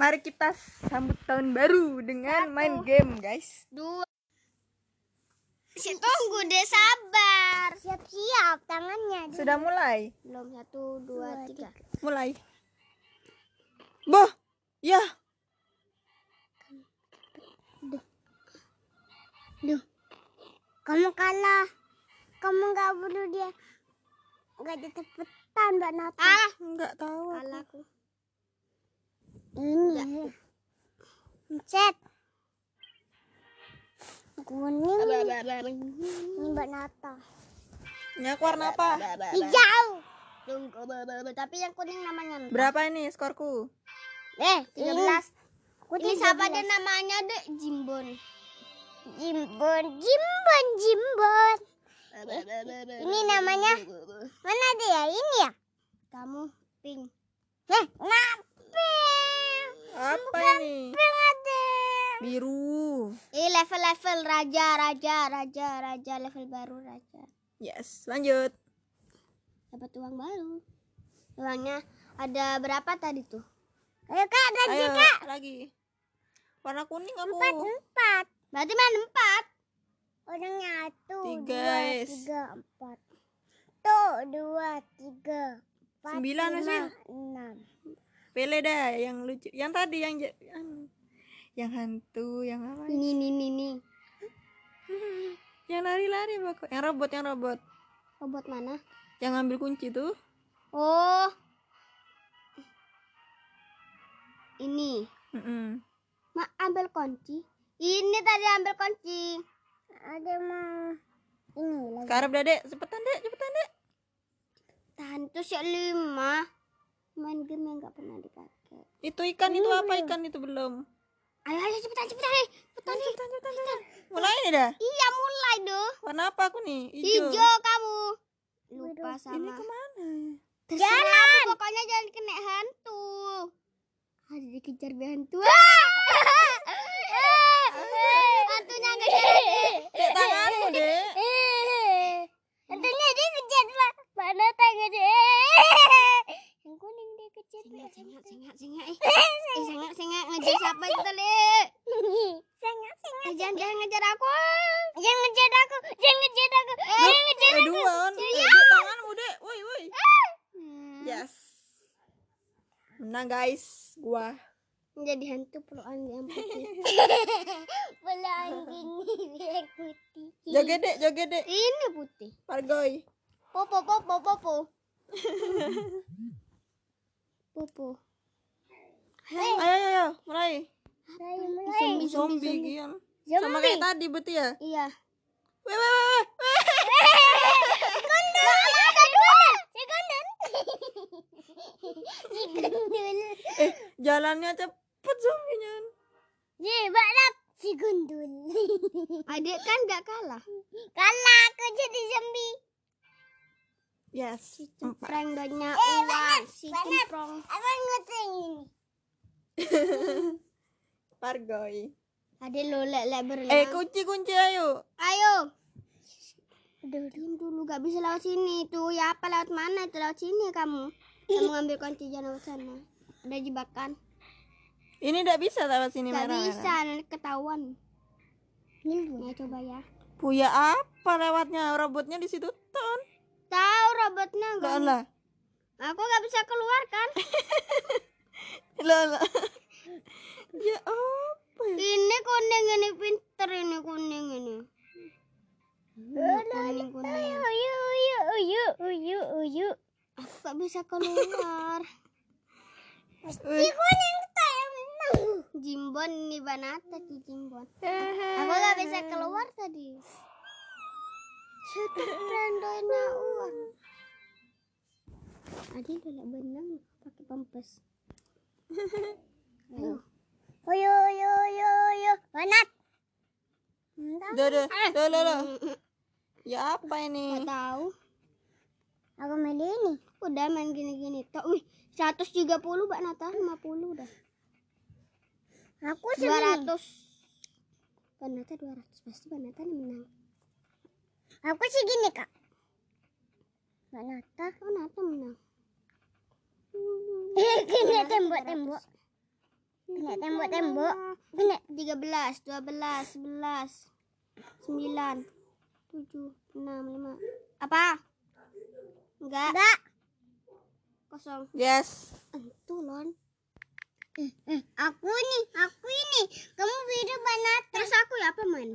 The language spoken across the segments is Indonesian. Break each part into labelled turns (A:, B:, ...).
A: Mari kita sambut tahun baru dengan main game, guys.
B: dua tunggu deh sabar siap-siap tangannya
A: Sudah mulai.
B: belum satu dua, tiga.
A: Mulai. Boh. Ya.
B: Duh. Kamu kalah. Kamu nggak bunuh dia. Nggak cepetan Mbak Nata. Ah,
A: Enggak tahu. aku.
B: aku. Ini. Cet. Kuning. Ini Mbak Nata.
A: Nyak warna Ya, apa?
B: Hijau. Tapi yang kuning namanya.
A: Berapa ini skorku?
B: Eh, 13. Ini siapa deh namanya deh? Jimbon. Jimbon, Jimbon, Jimbon. Ini namanya mana deh ya? Ini ya? Kamu pink. Eh, ngapel.
A: Apa ini?
B: Pink ada.
A: Biru.
B: Ini level-level raja, raja, raja, raja, level baru raja.
A: Yes, lanjut.
B: Dapat uang baru. Uangnya ada berapa tadi tuh? Ayo kak, ada
A: Ayo, lagi. Warna kuning aku.
B: empat berarti main empat orang satu
A: Tiga,
B: dua
A: guys.
B: tiga empat tuh dua tiga empat
A: Sembilan,
B: lima,
A: Sil.
B: enam
A: Pele dah yang lucu. Yang tadi yang ja- anu. yang hantu, yang apa?
B: ini ini ini, ini
A: Yang lari-lari bako. Yang robot, yang robot.
B: robot mana
A: Yang ngambil kunci tuh.
B: oh ini
A: Mm-mm.
B: mak ambil kunci ini tadi ambil kunci ada mau ini lagi
A: Sekarang udah, Dek. Cepetan, Dek. Cepetan, Dek.
B: tahan tuh si lima main game yang nggak pernah dipakai
A: Itu ikan
B: Oh,
A: itu apa
B: iya.
A: ikan itu belum?
B: ayo ayo cepetan cepetan ayo, cepetan cepetan cepetan, cepetan.
A: Mulai nih dah.
B: Iya mulai doh.
A: Warna apa aku nih? Hijau.
B: Hijau kamu. Lupa
A: Ini
B: sama.
A: kemana?
B: Jangan kamu pokoknya jangan kena hantu. Harus dikejar biar hantu. Hantunya nggak Eh,
A: Dek, tanganmu, Dek.
B: Hantunya dia kejar pak. Mana tangan dia? Yang kuning dia kejar. Sengak sengak sengak eh. Eh sengak sengak ngejar siapa itu lek? Sengak sengak. Jangan jangan ngejar aku. Jangan ngejar aku. Jangan ngejar aku. Jangan ngejar
A: Eh,
B: aku.
A: duan. Eh,
B: Iya. Eh.
A: Dek, tanganmu, Dek. Woi, woi.
B: Hmm.
A: Yes. Menang, guys. Gua.
B: Jadi hantu perlu anjing yang putih. perlu anjing yang putih.
A: Joget, Dek. Joget, Dek.
B: Ini putih.
A: Pargoy.
B: Popo popo popo. popo.
A: Ayo, ayo, ayo. Mulai.
B: Zombie
A: Zombie, gian. Sama kayak tadi, berarti ya?
B: Iya.
A: Weh, weh, weh, weh, weh. Eh, jalannya cepet zombinya.
B: Si gundul. Adik kan gak kalah. Kalah aku jadi zombie.
A: Yes. Empat.
B: Prank banyak uang. Iya, Si cemprong. Abang nguteng ini.
A: Pargoy.
B: Adik lo lek-lek berenang.
A: Eh, kunci, kunci, ayo.
B: Ayo. Aduh, diam dulu gak bisa lewat sini tuh. Ya apa lewat mana itu lewat sini kamu. Kamu ngambil kunci jangan lewat sana. Ada jebakan.
A: Ini ndak bisa lewat sini
B: Gak
A: merah-merah.
B: bisa nanti ketahuan. Ya coba ya.
A: Puya apa lewatnya robotnya di situ ton?
B: Tahu robotnya
A: Lah
B: enggak?
A: lah.
B: Aku nggak bisa keluar kan?
A: Lah lah. ya apa ya?
B: ini kuning ini pinter ini kuning ini. Kuning kuning.
C: Uyu, uyu, uyu, uyu, uyu.
B: Aku nggak bisa keluar.
A: Wih.
B: kuning Jimbon ini banata di Jimbon.
A: Eh.
B: Aku nggak bisa keluar tadi. Sudah rendonya uang. Adi udah benang pakai pempes. Ayo.
C: Uyu, uyu, uyu, uyu. Banat.
A: Duh, duh,
B: Ah.
A: duh, duh, duh. Ya apa
B: Gak
C: Hmm.
A: ini?
B: Iya, tahu.
C: Aku main ini.
B: Udah main gini-gini tok. Wih, 130 Mbak Nata, 50 udah.
C: Aku sendiri.
B: 200. Mbak Nata 200 pasti Mbak Nata nih menang.
C: Aku segini, Kak.
B: Mbak Nata, Mbak Nata menang.
C: Kena tembok-tembok. Kena tembok-tembok.
B: Kena 13, 12, 11, 9, 7, 6, 5. Apa? Enggak.
C: Enggak.
B: Kosong.
A: Yes.
B: Itu lon.
C: Eh, Aku ini, aku ini. Kamu biru banat.
B: Terus aku ya apa main?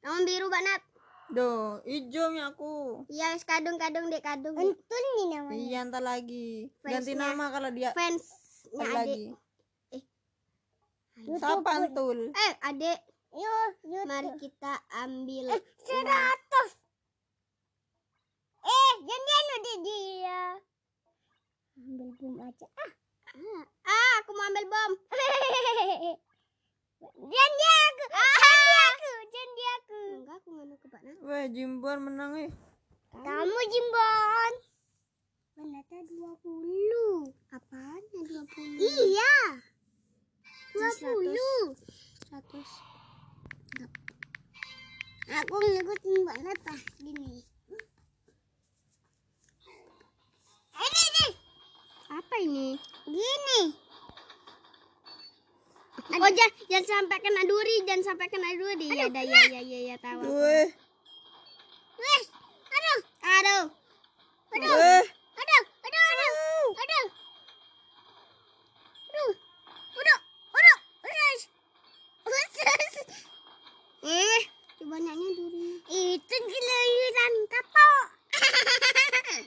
B: Kamu biru banget.
A: Do, hijaunya aku.
B: Iya, wis kadung-kadung dek kadung.
C: Entul nih namanya.
A: Iya, ntar lagi. Ganti
B: Fansnya.
A: nama kalau dia
B: Fansnya
A: ntar
B: adik.
A: lagi.
B: Eh.
A: Siapa antul?
B: Eh, adik,
C: Yo, yo. Eh,
B: mari kita ambil.
C: Seratus. Eh, jangan udah dia. Ambil bom aja.
B: Ah, ah, aku mau ambil bom.
C: janji aku, janji aku, janji aku.
B: Enggak, aku nganu ke Pak Nat.
A: Wah, Jimbuan menang eh.
C: Kamu Jimbon.
B: Banatnya 20. Apanya 20?
C: Iya.
B: 20. 100.
C: Aku ngikutin banget pas gini. Eh, Ini nih,
B: Apa ini?
C: gini.
B: Oh, jangan, jangan sampai kena duri, jangan sampai kena duri. Ya, ada, ya, ya, ya, ya, tahu. aku.
A: Weh,
C: Wes, aduh,
B: Aduh.
A: weh.
C: aduh, aduh, aduh, aduh. Aduh, aduh, aduh, aduh. Usus.
B: Eh, coba nyanya duri.
C: Itu iya, gelayuran kapok. Eh.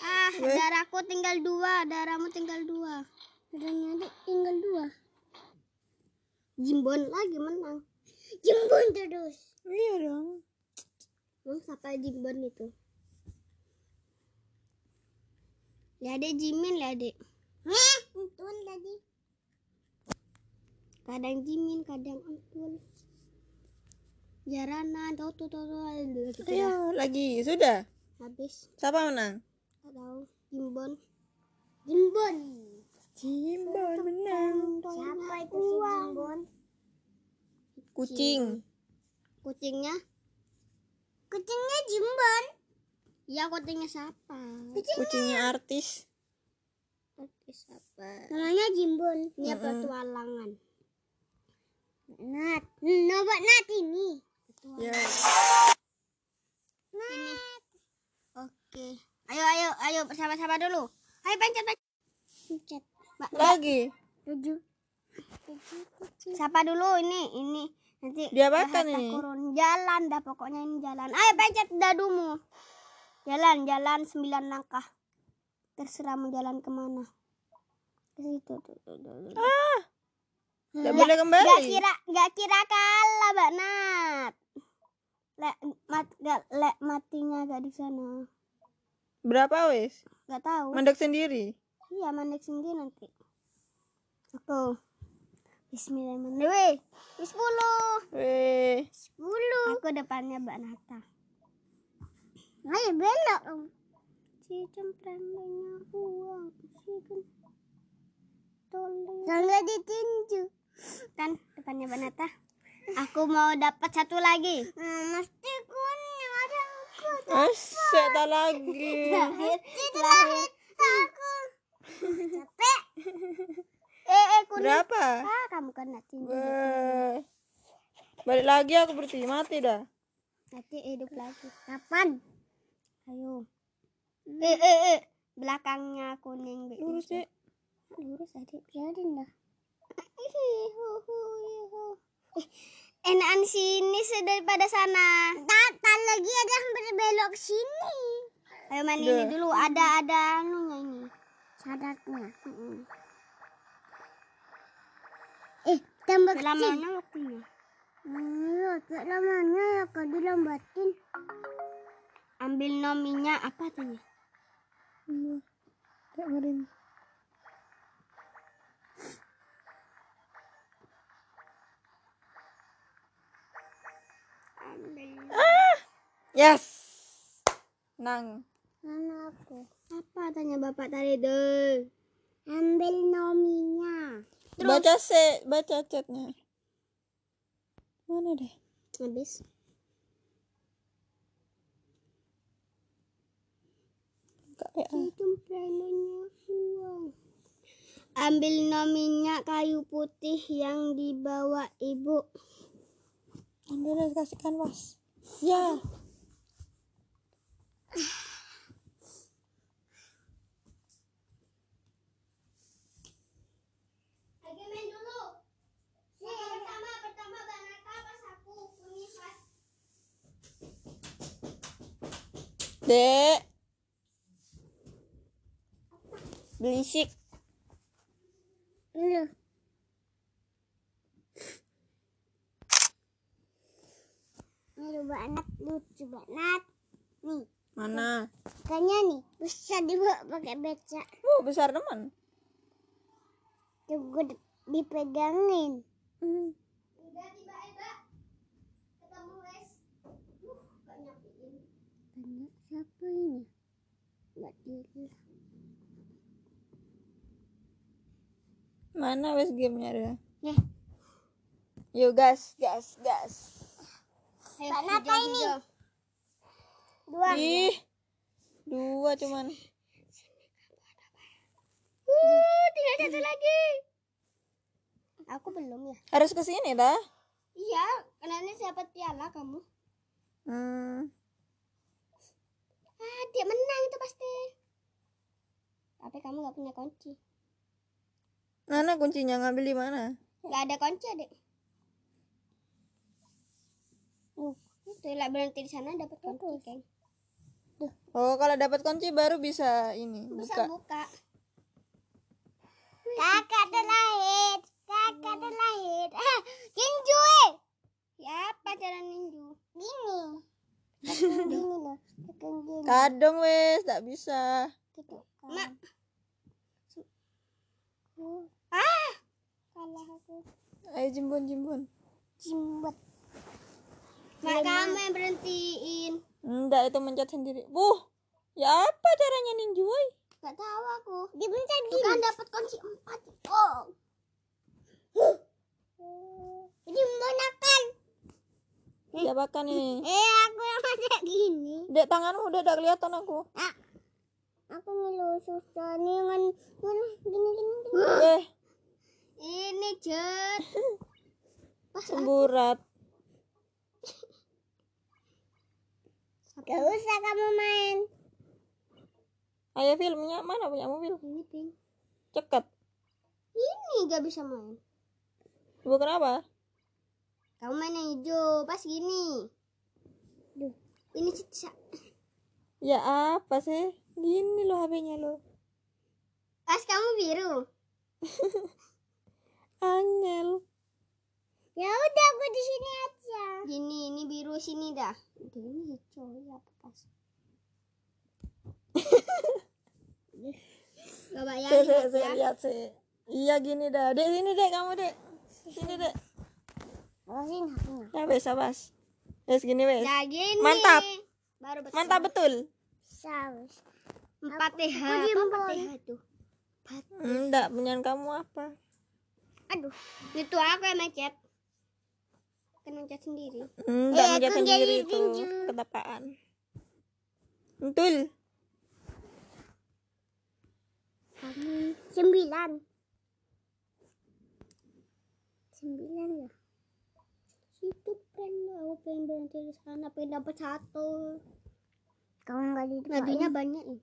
B: Ah,
A: Weh.
B: darahku tinggal dua, darahmu tinggal dua.
C: Darahnya adik tinggal dua.
B: Jimbon lagi menang.
C: Jembun terus.
A: Iya dong.
B: Lu siapa Jimbon itu? Lihat deh Ya, Jimin, lihat deh.
C: Hah? Betul tadi.
B: kadang jimin kadang untul jaranan tau tuh tau tuh aduh, gitu dah.
A: Ayo, lagi. Sudah.
B: habis
A: Siapa menang?
B: tak tahu jimbon
C: Jembun.
A: Jimbuan menang.
C: Siapa itu si Jembun?
A: Kucing.
B: kucingnya
C: Kucingnya Jembun.
B: ya kucingnya siapa
A: Kucingnya artis.
B: kucing siapa
C: Namanya Jembun.
B: dia petualangan
C: Nat. Coba Nat ini.
A: Ya.
B: ini oke ayo ayo ayo bersama-sama dulu ayo pencet pencet
C: Pencet.
B: Mbak, Mbak,
A: Lagi.
C: Tujuh.
B: siapa dulu ini ini nanti
A: Diapakan
B: bahasa
A: ini?
B: kurun. jalan dah pokoknya ini jalan ayo pencet dadumu jalan jalan sembilan langkah terserah mau jalan kemana ke situ tuh, tuh, tuh, tuh.
A: Ah,
B: Nggak-
A: tidak boleh
B: nggak
A: kembali.
B: kira nggak kira kalah mbak Nat le, mat, nggak- le, matinya gak di sana
A: Berapa wes?
B: nggak tahu
A: Mendek sendiri.
B: Iya, mandek sendiri nanti. Aku. Bismillahirrahmanirrahim. Wih, 10.
A: Weh.
B: 10. Aku depannya Mbak Nata.
C: Ayo belok. Om.
B: Si cemprangnya uang. Si kan. Tolong.
C: Jangan ditinju.
B: Kan depannya Mbak Nata. Aku mau dapat satu lagi.
C: Hmm, Mesti kuning ada aku.
A: Asyik tak lagi.
B: Lahir, lahir.
C: Aku. Capek.
B: Eh, eh, kuning.
A: Berapa?
B: Ah, kamu kena tinggi.
A: Weh. Balik lagi aku berarti mati dah.
B: Nanti hidup lagi.
C: Kapan?
B: Ayo. Eh, eh, eh. Belakangnya kuning. Bek.
A: Lurus deh.
B: lurus adik biarin dah enakan sini sih daripada sana
C: Tak lagi ada yang berbelok ke sini.
B: ayo main ini
A: Dah.
B: dulu ada ada anunya ini
C: Syaratnya.
B: Mm-mm.
C: Eh, tambah kecil.
B: lamanya waktunya
C: Iya, tak lamanya ya kalau dilambatin.
B: ambil nominya apa tanya ambil
A: Yes. Nang.
C: Mana aku?
B: apa tanya bapak tadi deh
C: Ambil nominya.
A: Baca se, baca chatnya. Mana deh?
B: habis
A: Enggak
B: Itu planonya uang. Ambil nominya kayu putih yang dibawa ibu.
A: Ambil aja, kasih kanvas. Ya.
B: Lagi main dulu. pertama, pertama Banata pas aku kumis pas.
A: Dek. Berisik.
B: Iya. Ini banget, lucu banget. Nih,
A: Mana?
B: ikannya nih bisa dibawa pakai becak.
A: Oh, besar teman.
B: Tunggu di- dipegangin.
A: Hmm.
B: Banyak siapa ini? Mbak Dila.
A: Mana wes gamenya ada?
B: Ya.
A: Yuk gas, gas, gas.
B: Mbak Nata ini. Dua.
A: Ih, dua cuman.
B: Uh, tinggal satu lagi. Aku belum ya.
A: Harus ke sini dah.
B: Iya, karena siapa Tiala kamu?
A: Hmm.
B: Ah, dia menang itu pasti. Tapi kamu gak punya kunci.
A: Mana kuncinya ngambil di mana?
B: Gak ada kunci, Dek. Uh, itu lah berhenti di sana dapat kunci, Kang.
A: Oh, kalau dapat kunci baru bisa ini
B: Bisa
A: buka.
B: buka. Kakak terlahir, kakak terlahir. Ah, Kinju. Ya, apa cara ninju? Gini. Gini loh, gini.
A: Kadung wes, tak bisa.
B: gitu kan. Mak. Ah. Kalah aku.
A: Ayo jimbun, jimbun.
B: Jimbet. Mak kamu yang berhentiin.
A: Enggak, itu mencet sendiri. Wuh, ya apa caranya ninjuai?
B: Gak tahu aku. Dipencet gini. Kan dapat kunci empat. Oh. Jadi menggunakan.
A: Jebakan ini.
B: Eh aku yang macet gini.
A: Ya Dek tanganmu udah tak kelihatan aku.
B: Aku ngeluh susah nih ngan ngan gini gini. gini.
A: Eh,
B: Ini jet.
A: semburat.
B: Gak usah kamu main.
A: Ayo filmnya mana punya mobil?
B: Ini pink.
A: Cekat.
B: Ini gak bisa main.
A: Ibu kenapa?
B: Kamu main yang hijau pas gini. Duh, ini sisa.
A: Ya apa sih? Gini loh HP-nya lo.
B: Pas kamu biru.
A: Angel.
B: Ya udah aku di sini aja. Gini, ini biru sini dah. Udah, ini hijau ya apa pas. Gak
A: Sih, sih,
B: bayangin
A: sih,
B: ya.
A: lihat sih. Iya gini dah. Dek sini dek kamu dek. Sini dek.
B: Awasin hatinya.
A: Ya wes abas. Wes gini wes.
B: Nah gini.
A: Mantap.
B: Baru betul.
A: Mantap betul.
B: Saus. Empat TH.
C: aku
B: Apa
C: jempol.
B: empat TH tuh?
A: Enggak, punya kamu apa?
B: Aduh. Itu aku yang macet. Kena macet sendiri.
A: Enggak
B: Eh,
A: mencet
B: aku jadi
A: sendiri itu
B: tinju.
A: ketapaan. Betul.
B: Kami sembilan. Sembilan ya. Situ pengen aku pengen berhenti di sana pengen dapat satu.
C: Kamu nggak di depan.
B: Lagunya banyak ya? nih.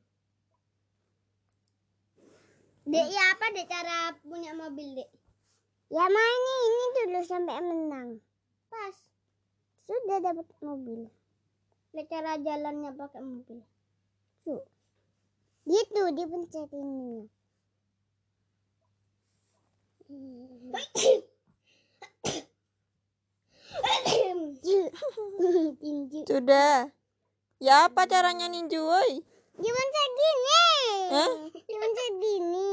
B: Dek, ya apa dek cara punya mobil dek?
C: Ya mainin ini dulu sampai menang.
B: Pas.
C: Sudah dapat mobil.
B: Dek cara jalannya pakai mobil.
C: Gitu dipencet ini.
B: Tinju.
A: Sudah. Ya apa caranya ninju, woi?
C: Dipencet gini.
A: Hah?
C: Dipencet gini.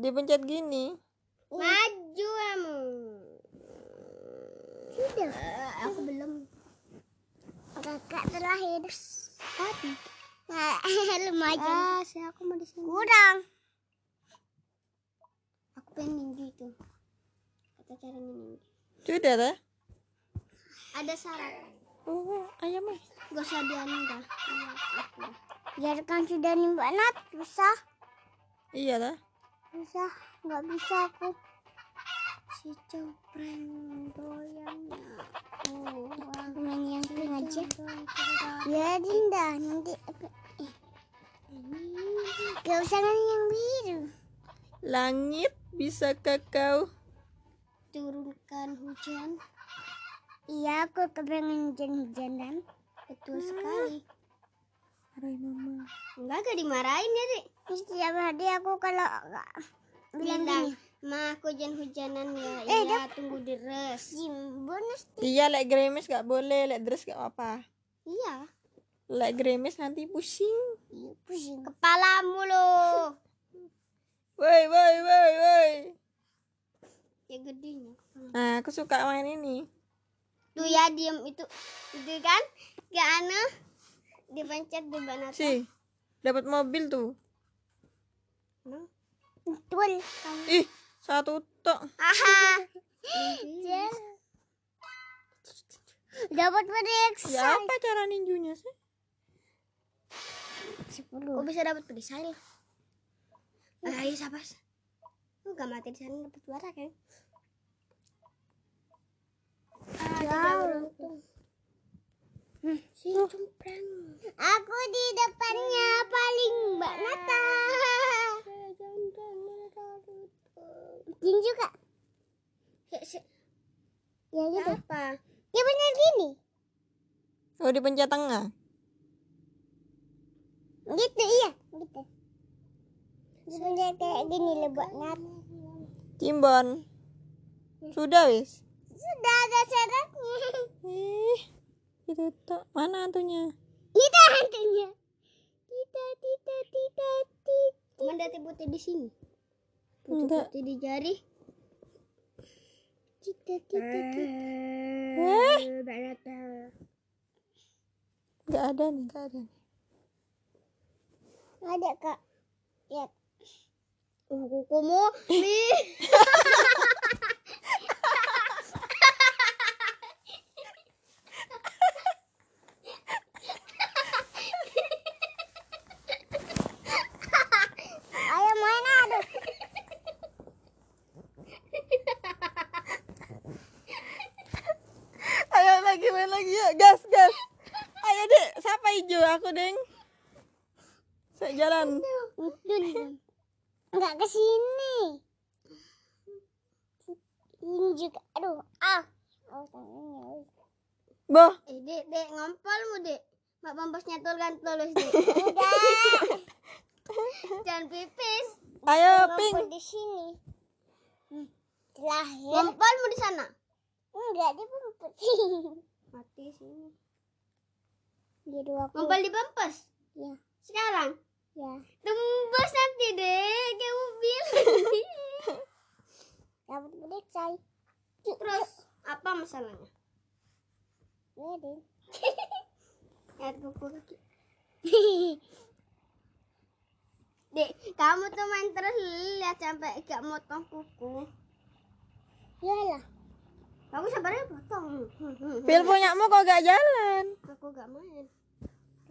A: Dipencet gini.
B: Maju kamu. Sudah. aku belum.
C: Kakak terakhir.
B: Tapi.
C: Nah, lumayan.
B: Ah, saya aku mau di sini.
C: Kurang.
B: Aku pengen ninju itu. Kata cara ninju.
A: Sudah dah.
B: Ada syarat.
A: Oh, ayam. ah.
B: Gak usah dianu dah. Iya, aku.
C: Biarkan sudah nih Mbak Nat, susah,
A: Iya lah.
C: susah, nggak bisa aku. Si cempreng doyangnya. Oh, yang sengaja. Ya Dinda, nanti aku eh. Gak usah nanya yang biru.
A: Langit, bisakah kau?
C: Turunkan hujan. Iya, aku kepengen hujan-hujanan. Betul sekali.
A: Marahin mama.
B: Enggak gak dimarahin ya, Dik.
C: Setiap hari aku kalau nggak bilang
B: Bintang.
C: gini,
B: Mah aku hujan-hujanan ya.
C: Eh,
B: iya, tunggu deres.
C: Jim, bonus.
A: Iya, lek gerimis gak boleh, lek dress gak apa.
B: Iya.
A: Lek gerimis nanti pusing.
C: Iya, pusing.
B: Kepalamu loh.
A: Woi, woi, woi, woi.
B: ya gedenya.
A: Nah, aku suka main ini.
B: Tuh ya diem itu. Itu kan gak aneh. Dipencet di banat.
A: Sih, dapat mobil tuh.
C: Betul.
A: Ih, satu tok.
B: Aha.
C: Jel. Iya. Dapat pedik
A: Ya apa cara ninjunya sih?
B: Kok
C: sepuluh.
B: bisa dapat pedesal? Ayo sabar. iya, Lu gak mati di sana dapat suara kan? Hmm,
C: Si cumprang. Aku di depannya paling Mbak Nata. Jin juga. Ya gitu.
B: Apa?
C: Ya benar gini.
A: Oh, di pencet tengah.
C: Gitu iya, gitu. Sebenarnya kayak gini loh buat Nat.
A: Cimbon. Sudah wis.
C: Sudah ada syaratnya.
A: Ih, itu tok. Mana hantunya?
C: Kita hantunya. Kita, kita, kita, kita.
B: Cuman dari putih di sini.
A: Enggak.
B: Putih di jari.
C: Kita, kita, kita.
A: Eh, enggak ada nih, enggak ada. nih.
C: Ada kak. Ya. Lihat.
B: Oh, kukumu. Ih.
C: Ayo main aduh.
A: Ayo lagi main lagi ya. Gas, gas. Ayo, Dek. Siapa hijau? Aku, Deng. Saya jalan.
C: Enggak ke sini. Ini juga. Aduh. Ah. Oh, tangannya. wih.
A: Boh,
B: Eh, dek, dek, ngompolmu, dek. Mak pampers nyatul kan tulus, dek. Jangan pipis.
A: ayo pink.
C: Ngumpul di sini. Hmm, Terakhir.
B: Ngompolmu di sana.
C: Enggak, dia ngumpul.
B: Mati sini.
C: Di dua aku.
B: Ngompol di pampers?
C: Iya.
B: Sekarang?
C: Ya.
B: Tembus nanti, dek. Kayak mobil.
C: Dapat bedek, say.
B: Terus, apa masalahnya?
C: Bedek.
B: Ya, kuku kaki. Dek, kamu tuh main terus lihat sampai gak motong kuku.
C: Yalah.
B: Aku sabarnya potong.
A: Pil punyamu kok gak jalan?
B: Aku gak main.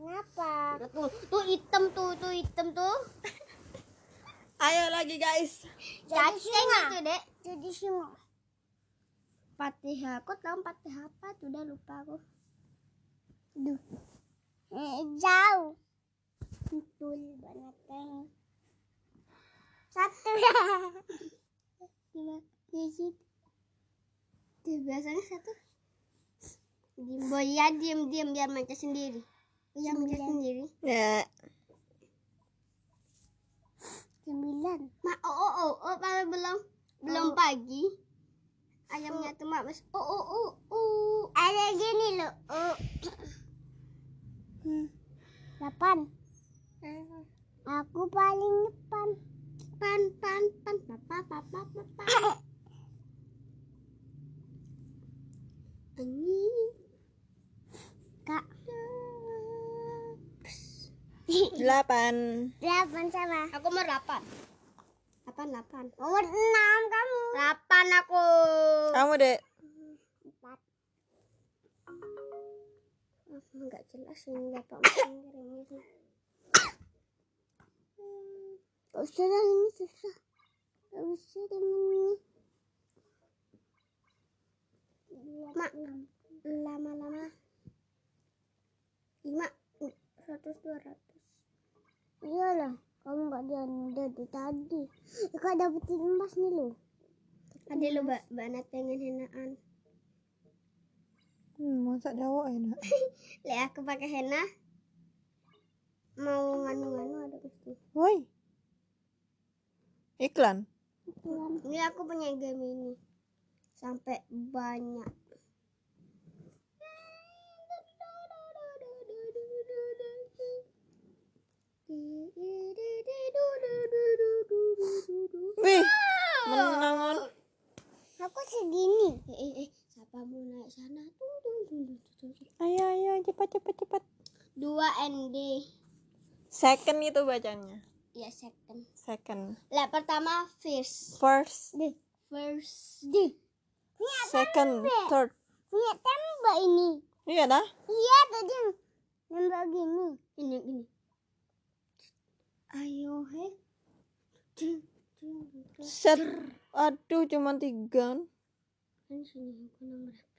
B: Nah,
C: Kenapa?
B: Tuh, tuh hitam tuh, tuh hitam tuh.
A: Ayo lagi, guys.
B: Cacing itu, dek.
C: Jadi semua.
B: Patih aku tahu patih apa tuh udah lupa aku.
C: Duh. Eh, jauh. Betul banget. Teng. Satu lah.
B: Gila, gigit. Iya Tuh biasanya satu. Diem boy ya diem diem biar mancing sendiri. Iya mancing sendiri.
A: Ya.
C: Sembilan. Oh.
B: Ma oh oh oh, oh padahal belum belum pagi. Ayamnya tuh mak mas. Oh oh oh oh.
C: Ada gini loh. Oh. Hmm. Delapan. Aku paling depan.
B: Pan pan pan papa papa papa. Anjing.
C: Kak.
A: Delapan.
C: Delapan sama.
B: Aku mau delapan. Delapan delapan.
C: Nomor enam kamu.
B: Delapan aku.
A: Kamu, Dek.
C: Empat.
B: Enggak jelas ini bapak usah lah ini susah. Gak usah temen ini. Mak, lama-lama. Lima, seratus, dua ratus. Iyalah, kamu nggak jalan dari tadi. Kak dapetin emas nih lo. Ada lo, Mbak. Mbak Nat pengen henaan.
A: Hmm, masak Jawa enak.
B: Lek aku pakai henna mau nganu-nganu ada pasti.
A: Woi. Iklan.
B: Ini aku punya game ini sampai banyak.
A: Wih, menang on.
B: Aku segini. Eh, eh, eh, siapa mau naik sana? Tuh, tuh, tuh, tuh, tuh, tuh.
A: Ayo, ayo, cepat, cepat, cepat.
B: Dua ND.
A: Second itu bacanya.
B: Ya second.
A: Second.
B: Lah pertama first.
A: First,
B: D. First. D.
A: Iya, second, third.
B: Lihat tembak ini.
A: Iya dah.
B: Iya tadi nembak gini. Ini gini. Ayo he. Jeng, jeng, jeng.
A: Set. Aduh, cuma tiga.
B: Kan sini aku nomor berapa?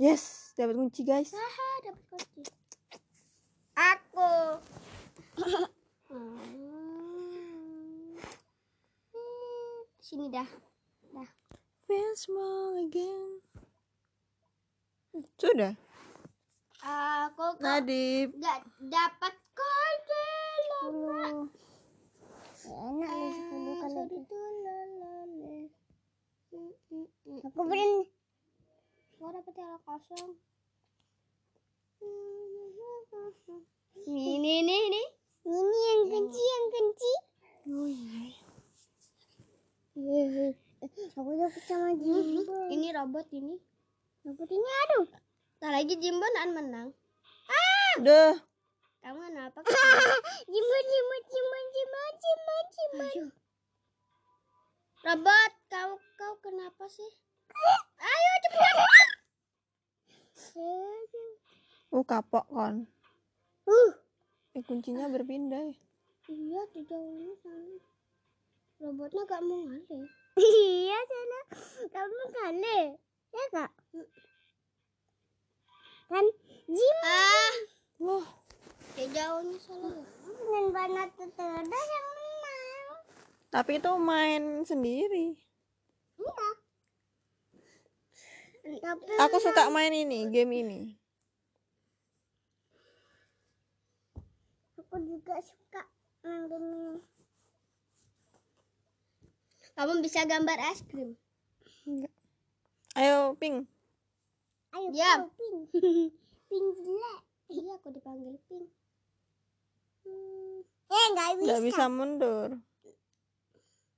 A: Yes, dapat kunci guys.
B: Haha, dapat kunci. Aku. Ah. sini dah. Dah.
A: Feel small again. Sudah.
B: Aku kok
A: Ah. Nadib.
B: nggak dapat kunci lama.
C: Enak nih
B: Ah,
C: sepuluh kalau itu.
B: Aku beli Gua dapet yang kosong Ini ini ini Ini yang kunci yang kunci
C: Iya, Aku dapat sama Jimbo.
B: Hmm, Ini robot ini
C: Dapat ini aduh.
B: Tak lagi Jimbo nan menang
A: Duh.
B: Kamu kenapa
C: Jimbo Jimbo Jimbo Jimbo Jimbo Jimbo.
B: Robot kau kau kenapa sih
C: Ayo cepat.
A: Oh, kapok kon.
B: Uh
A: Eh, kuncinya berpindah. ya.
B: Iya sejauhnya sana Robotnya gak mau ngalih
C: Iya sana. Kamu kali. Ya kak. Kan Jimbo.
B: Ah ya
A: Wah,
B: Sejauhnya salah
C: Dan banat terda yang menang.
A: tapi itu main sendiri.
C: Enggak.
B: Tapi
A: Aku suka main ini, game ini.
C: Aku juga suka main game ini.
B: Kamu bisa gambar es krim.
A: Enggak. Ayo, ping.
C: Ayo
B: Diam.
C: kau, ping. Ping jelek.
B: Iya, aku dipanggil Pink.
C: Eh enggak bisa.
A: Enggak bisa mundur.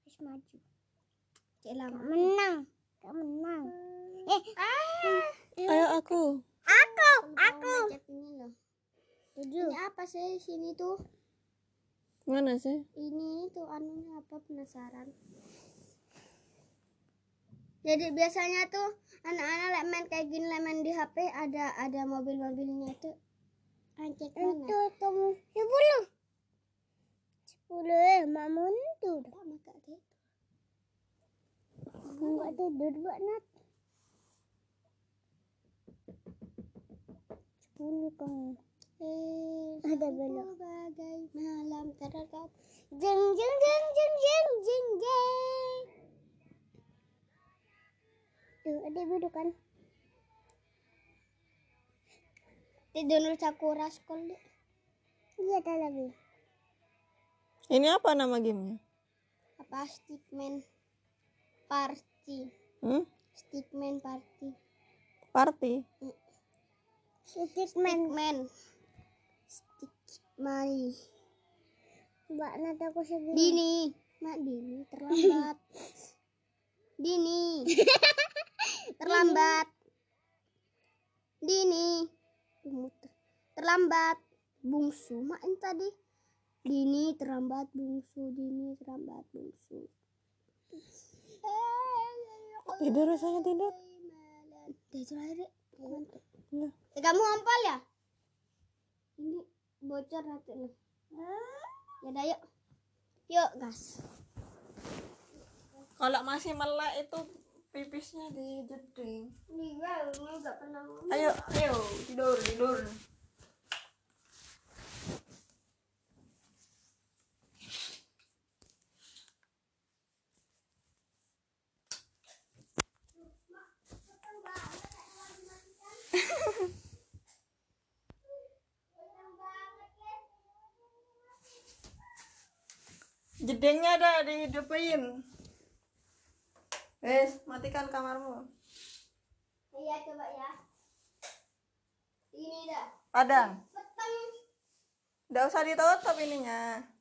C: Terus maju.
B: Cek lama.
C: Menang. Kau menang.
B: Hmm.
C: Eh,
A: Ayo aku.
C: aku, Oh, aku.
B: Aku ngajak ini loh. Ini apa sih sini tuh?
A: Mana sih?
B: Ini tuh anunya apa penasaran. Jadi biasanya tuh anak-anak lek main kayak gini lek main di HP ada ada mobil-mobilnya tuh. Anjek mana?
C: Itu kamu sepuluh. Sepuluh eh, mak mundur.
B: Kok makak deh?
C: Enggak tidur buat nat. Sepuluh kamu.
B: Eh,
C: Ada
B: satu
C: belok.
B: Bagai malam terang.
C: Jeng jeng jeng jeng jeng jeng jeng. Tuh, ada biru kan?
B: Tidur dulu sakura sekolah.
C: Iya, ada lagi.
A: Ini apa nama gamenya?
B: apa stickman party
A: Hmm?
B: stickman party
A: Party.
C: Sedikit
B: stickman stickman
C: Mbak Nat aku sedih.
B: dini mak dini terlambat dini terlambat dini Muter. terlambat bungsu mak ini tadi dini terlambat bungsu dini terlambat bungsu
A: Tidur rasanya tidur.
B: Tidur aja, Dek.
A: Ya.
B: Eh, Kamu ngompol ya? Ini bocor nanti nih. Yaudah yuk. Yuk gas.
A: Kalau masih melek itu pipisnya di jeding.
B: Iya,
A: Ayo, ayo, tidur, tidur. Jedingnya ada dihidupin. Wes, matikan kamarmu.
B: Iya coba ya. Ini dah.
A: Ada.
B: Petang.
A: Enggak usah ditutup ininya.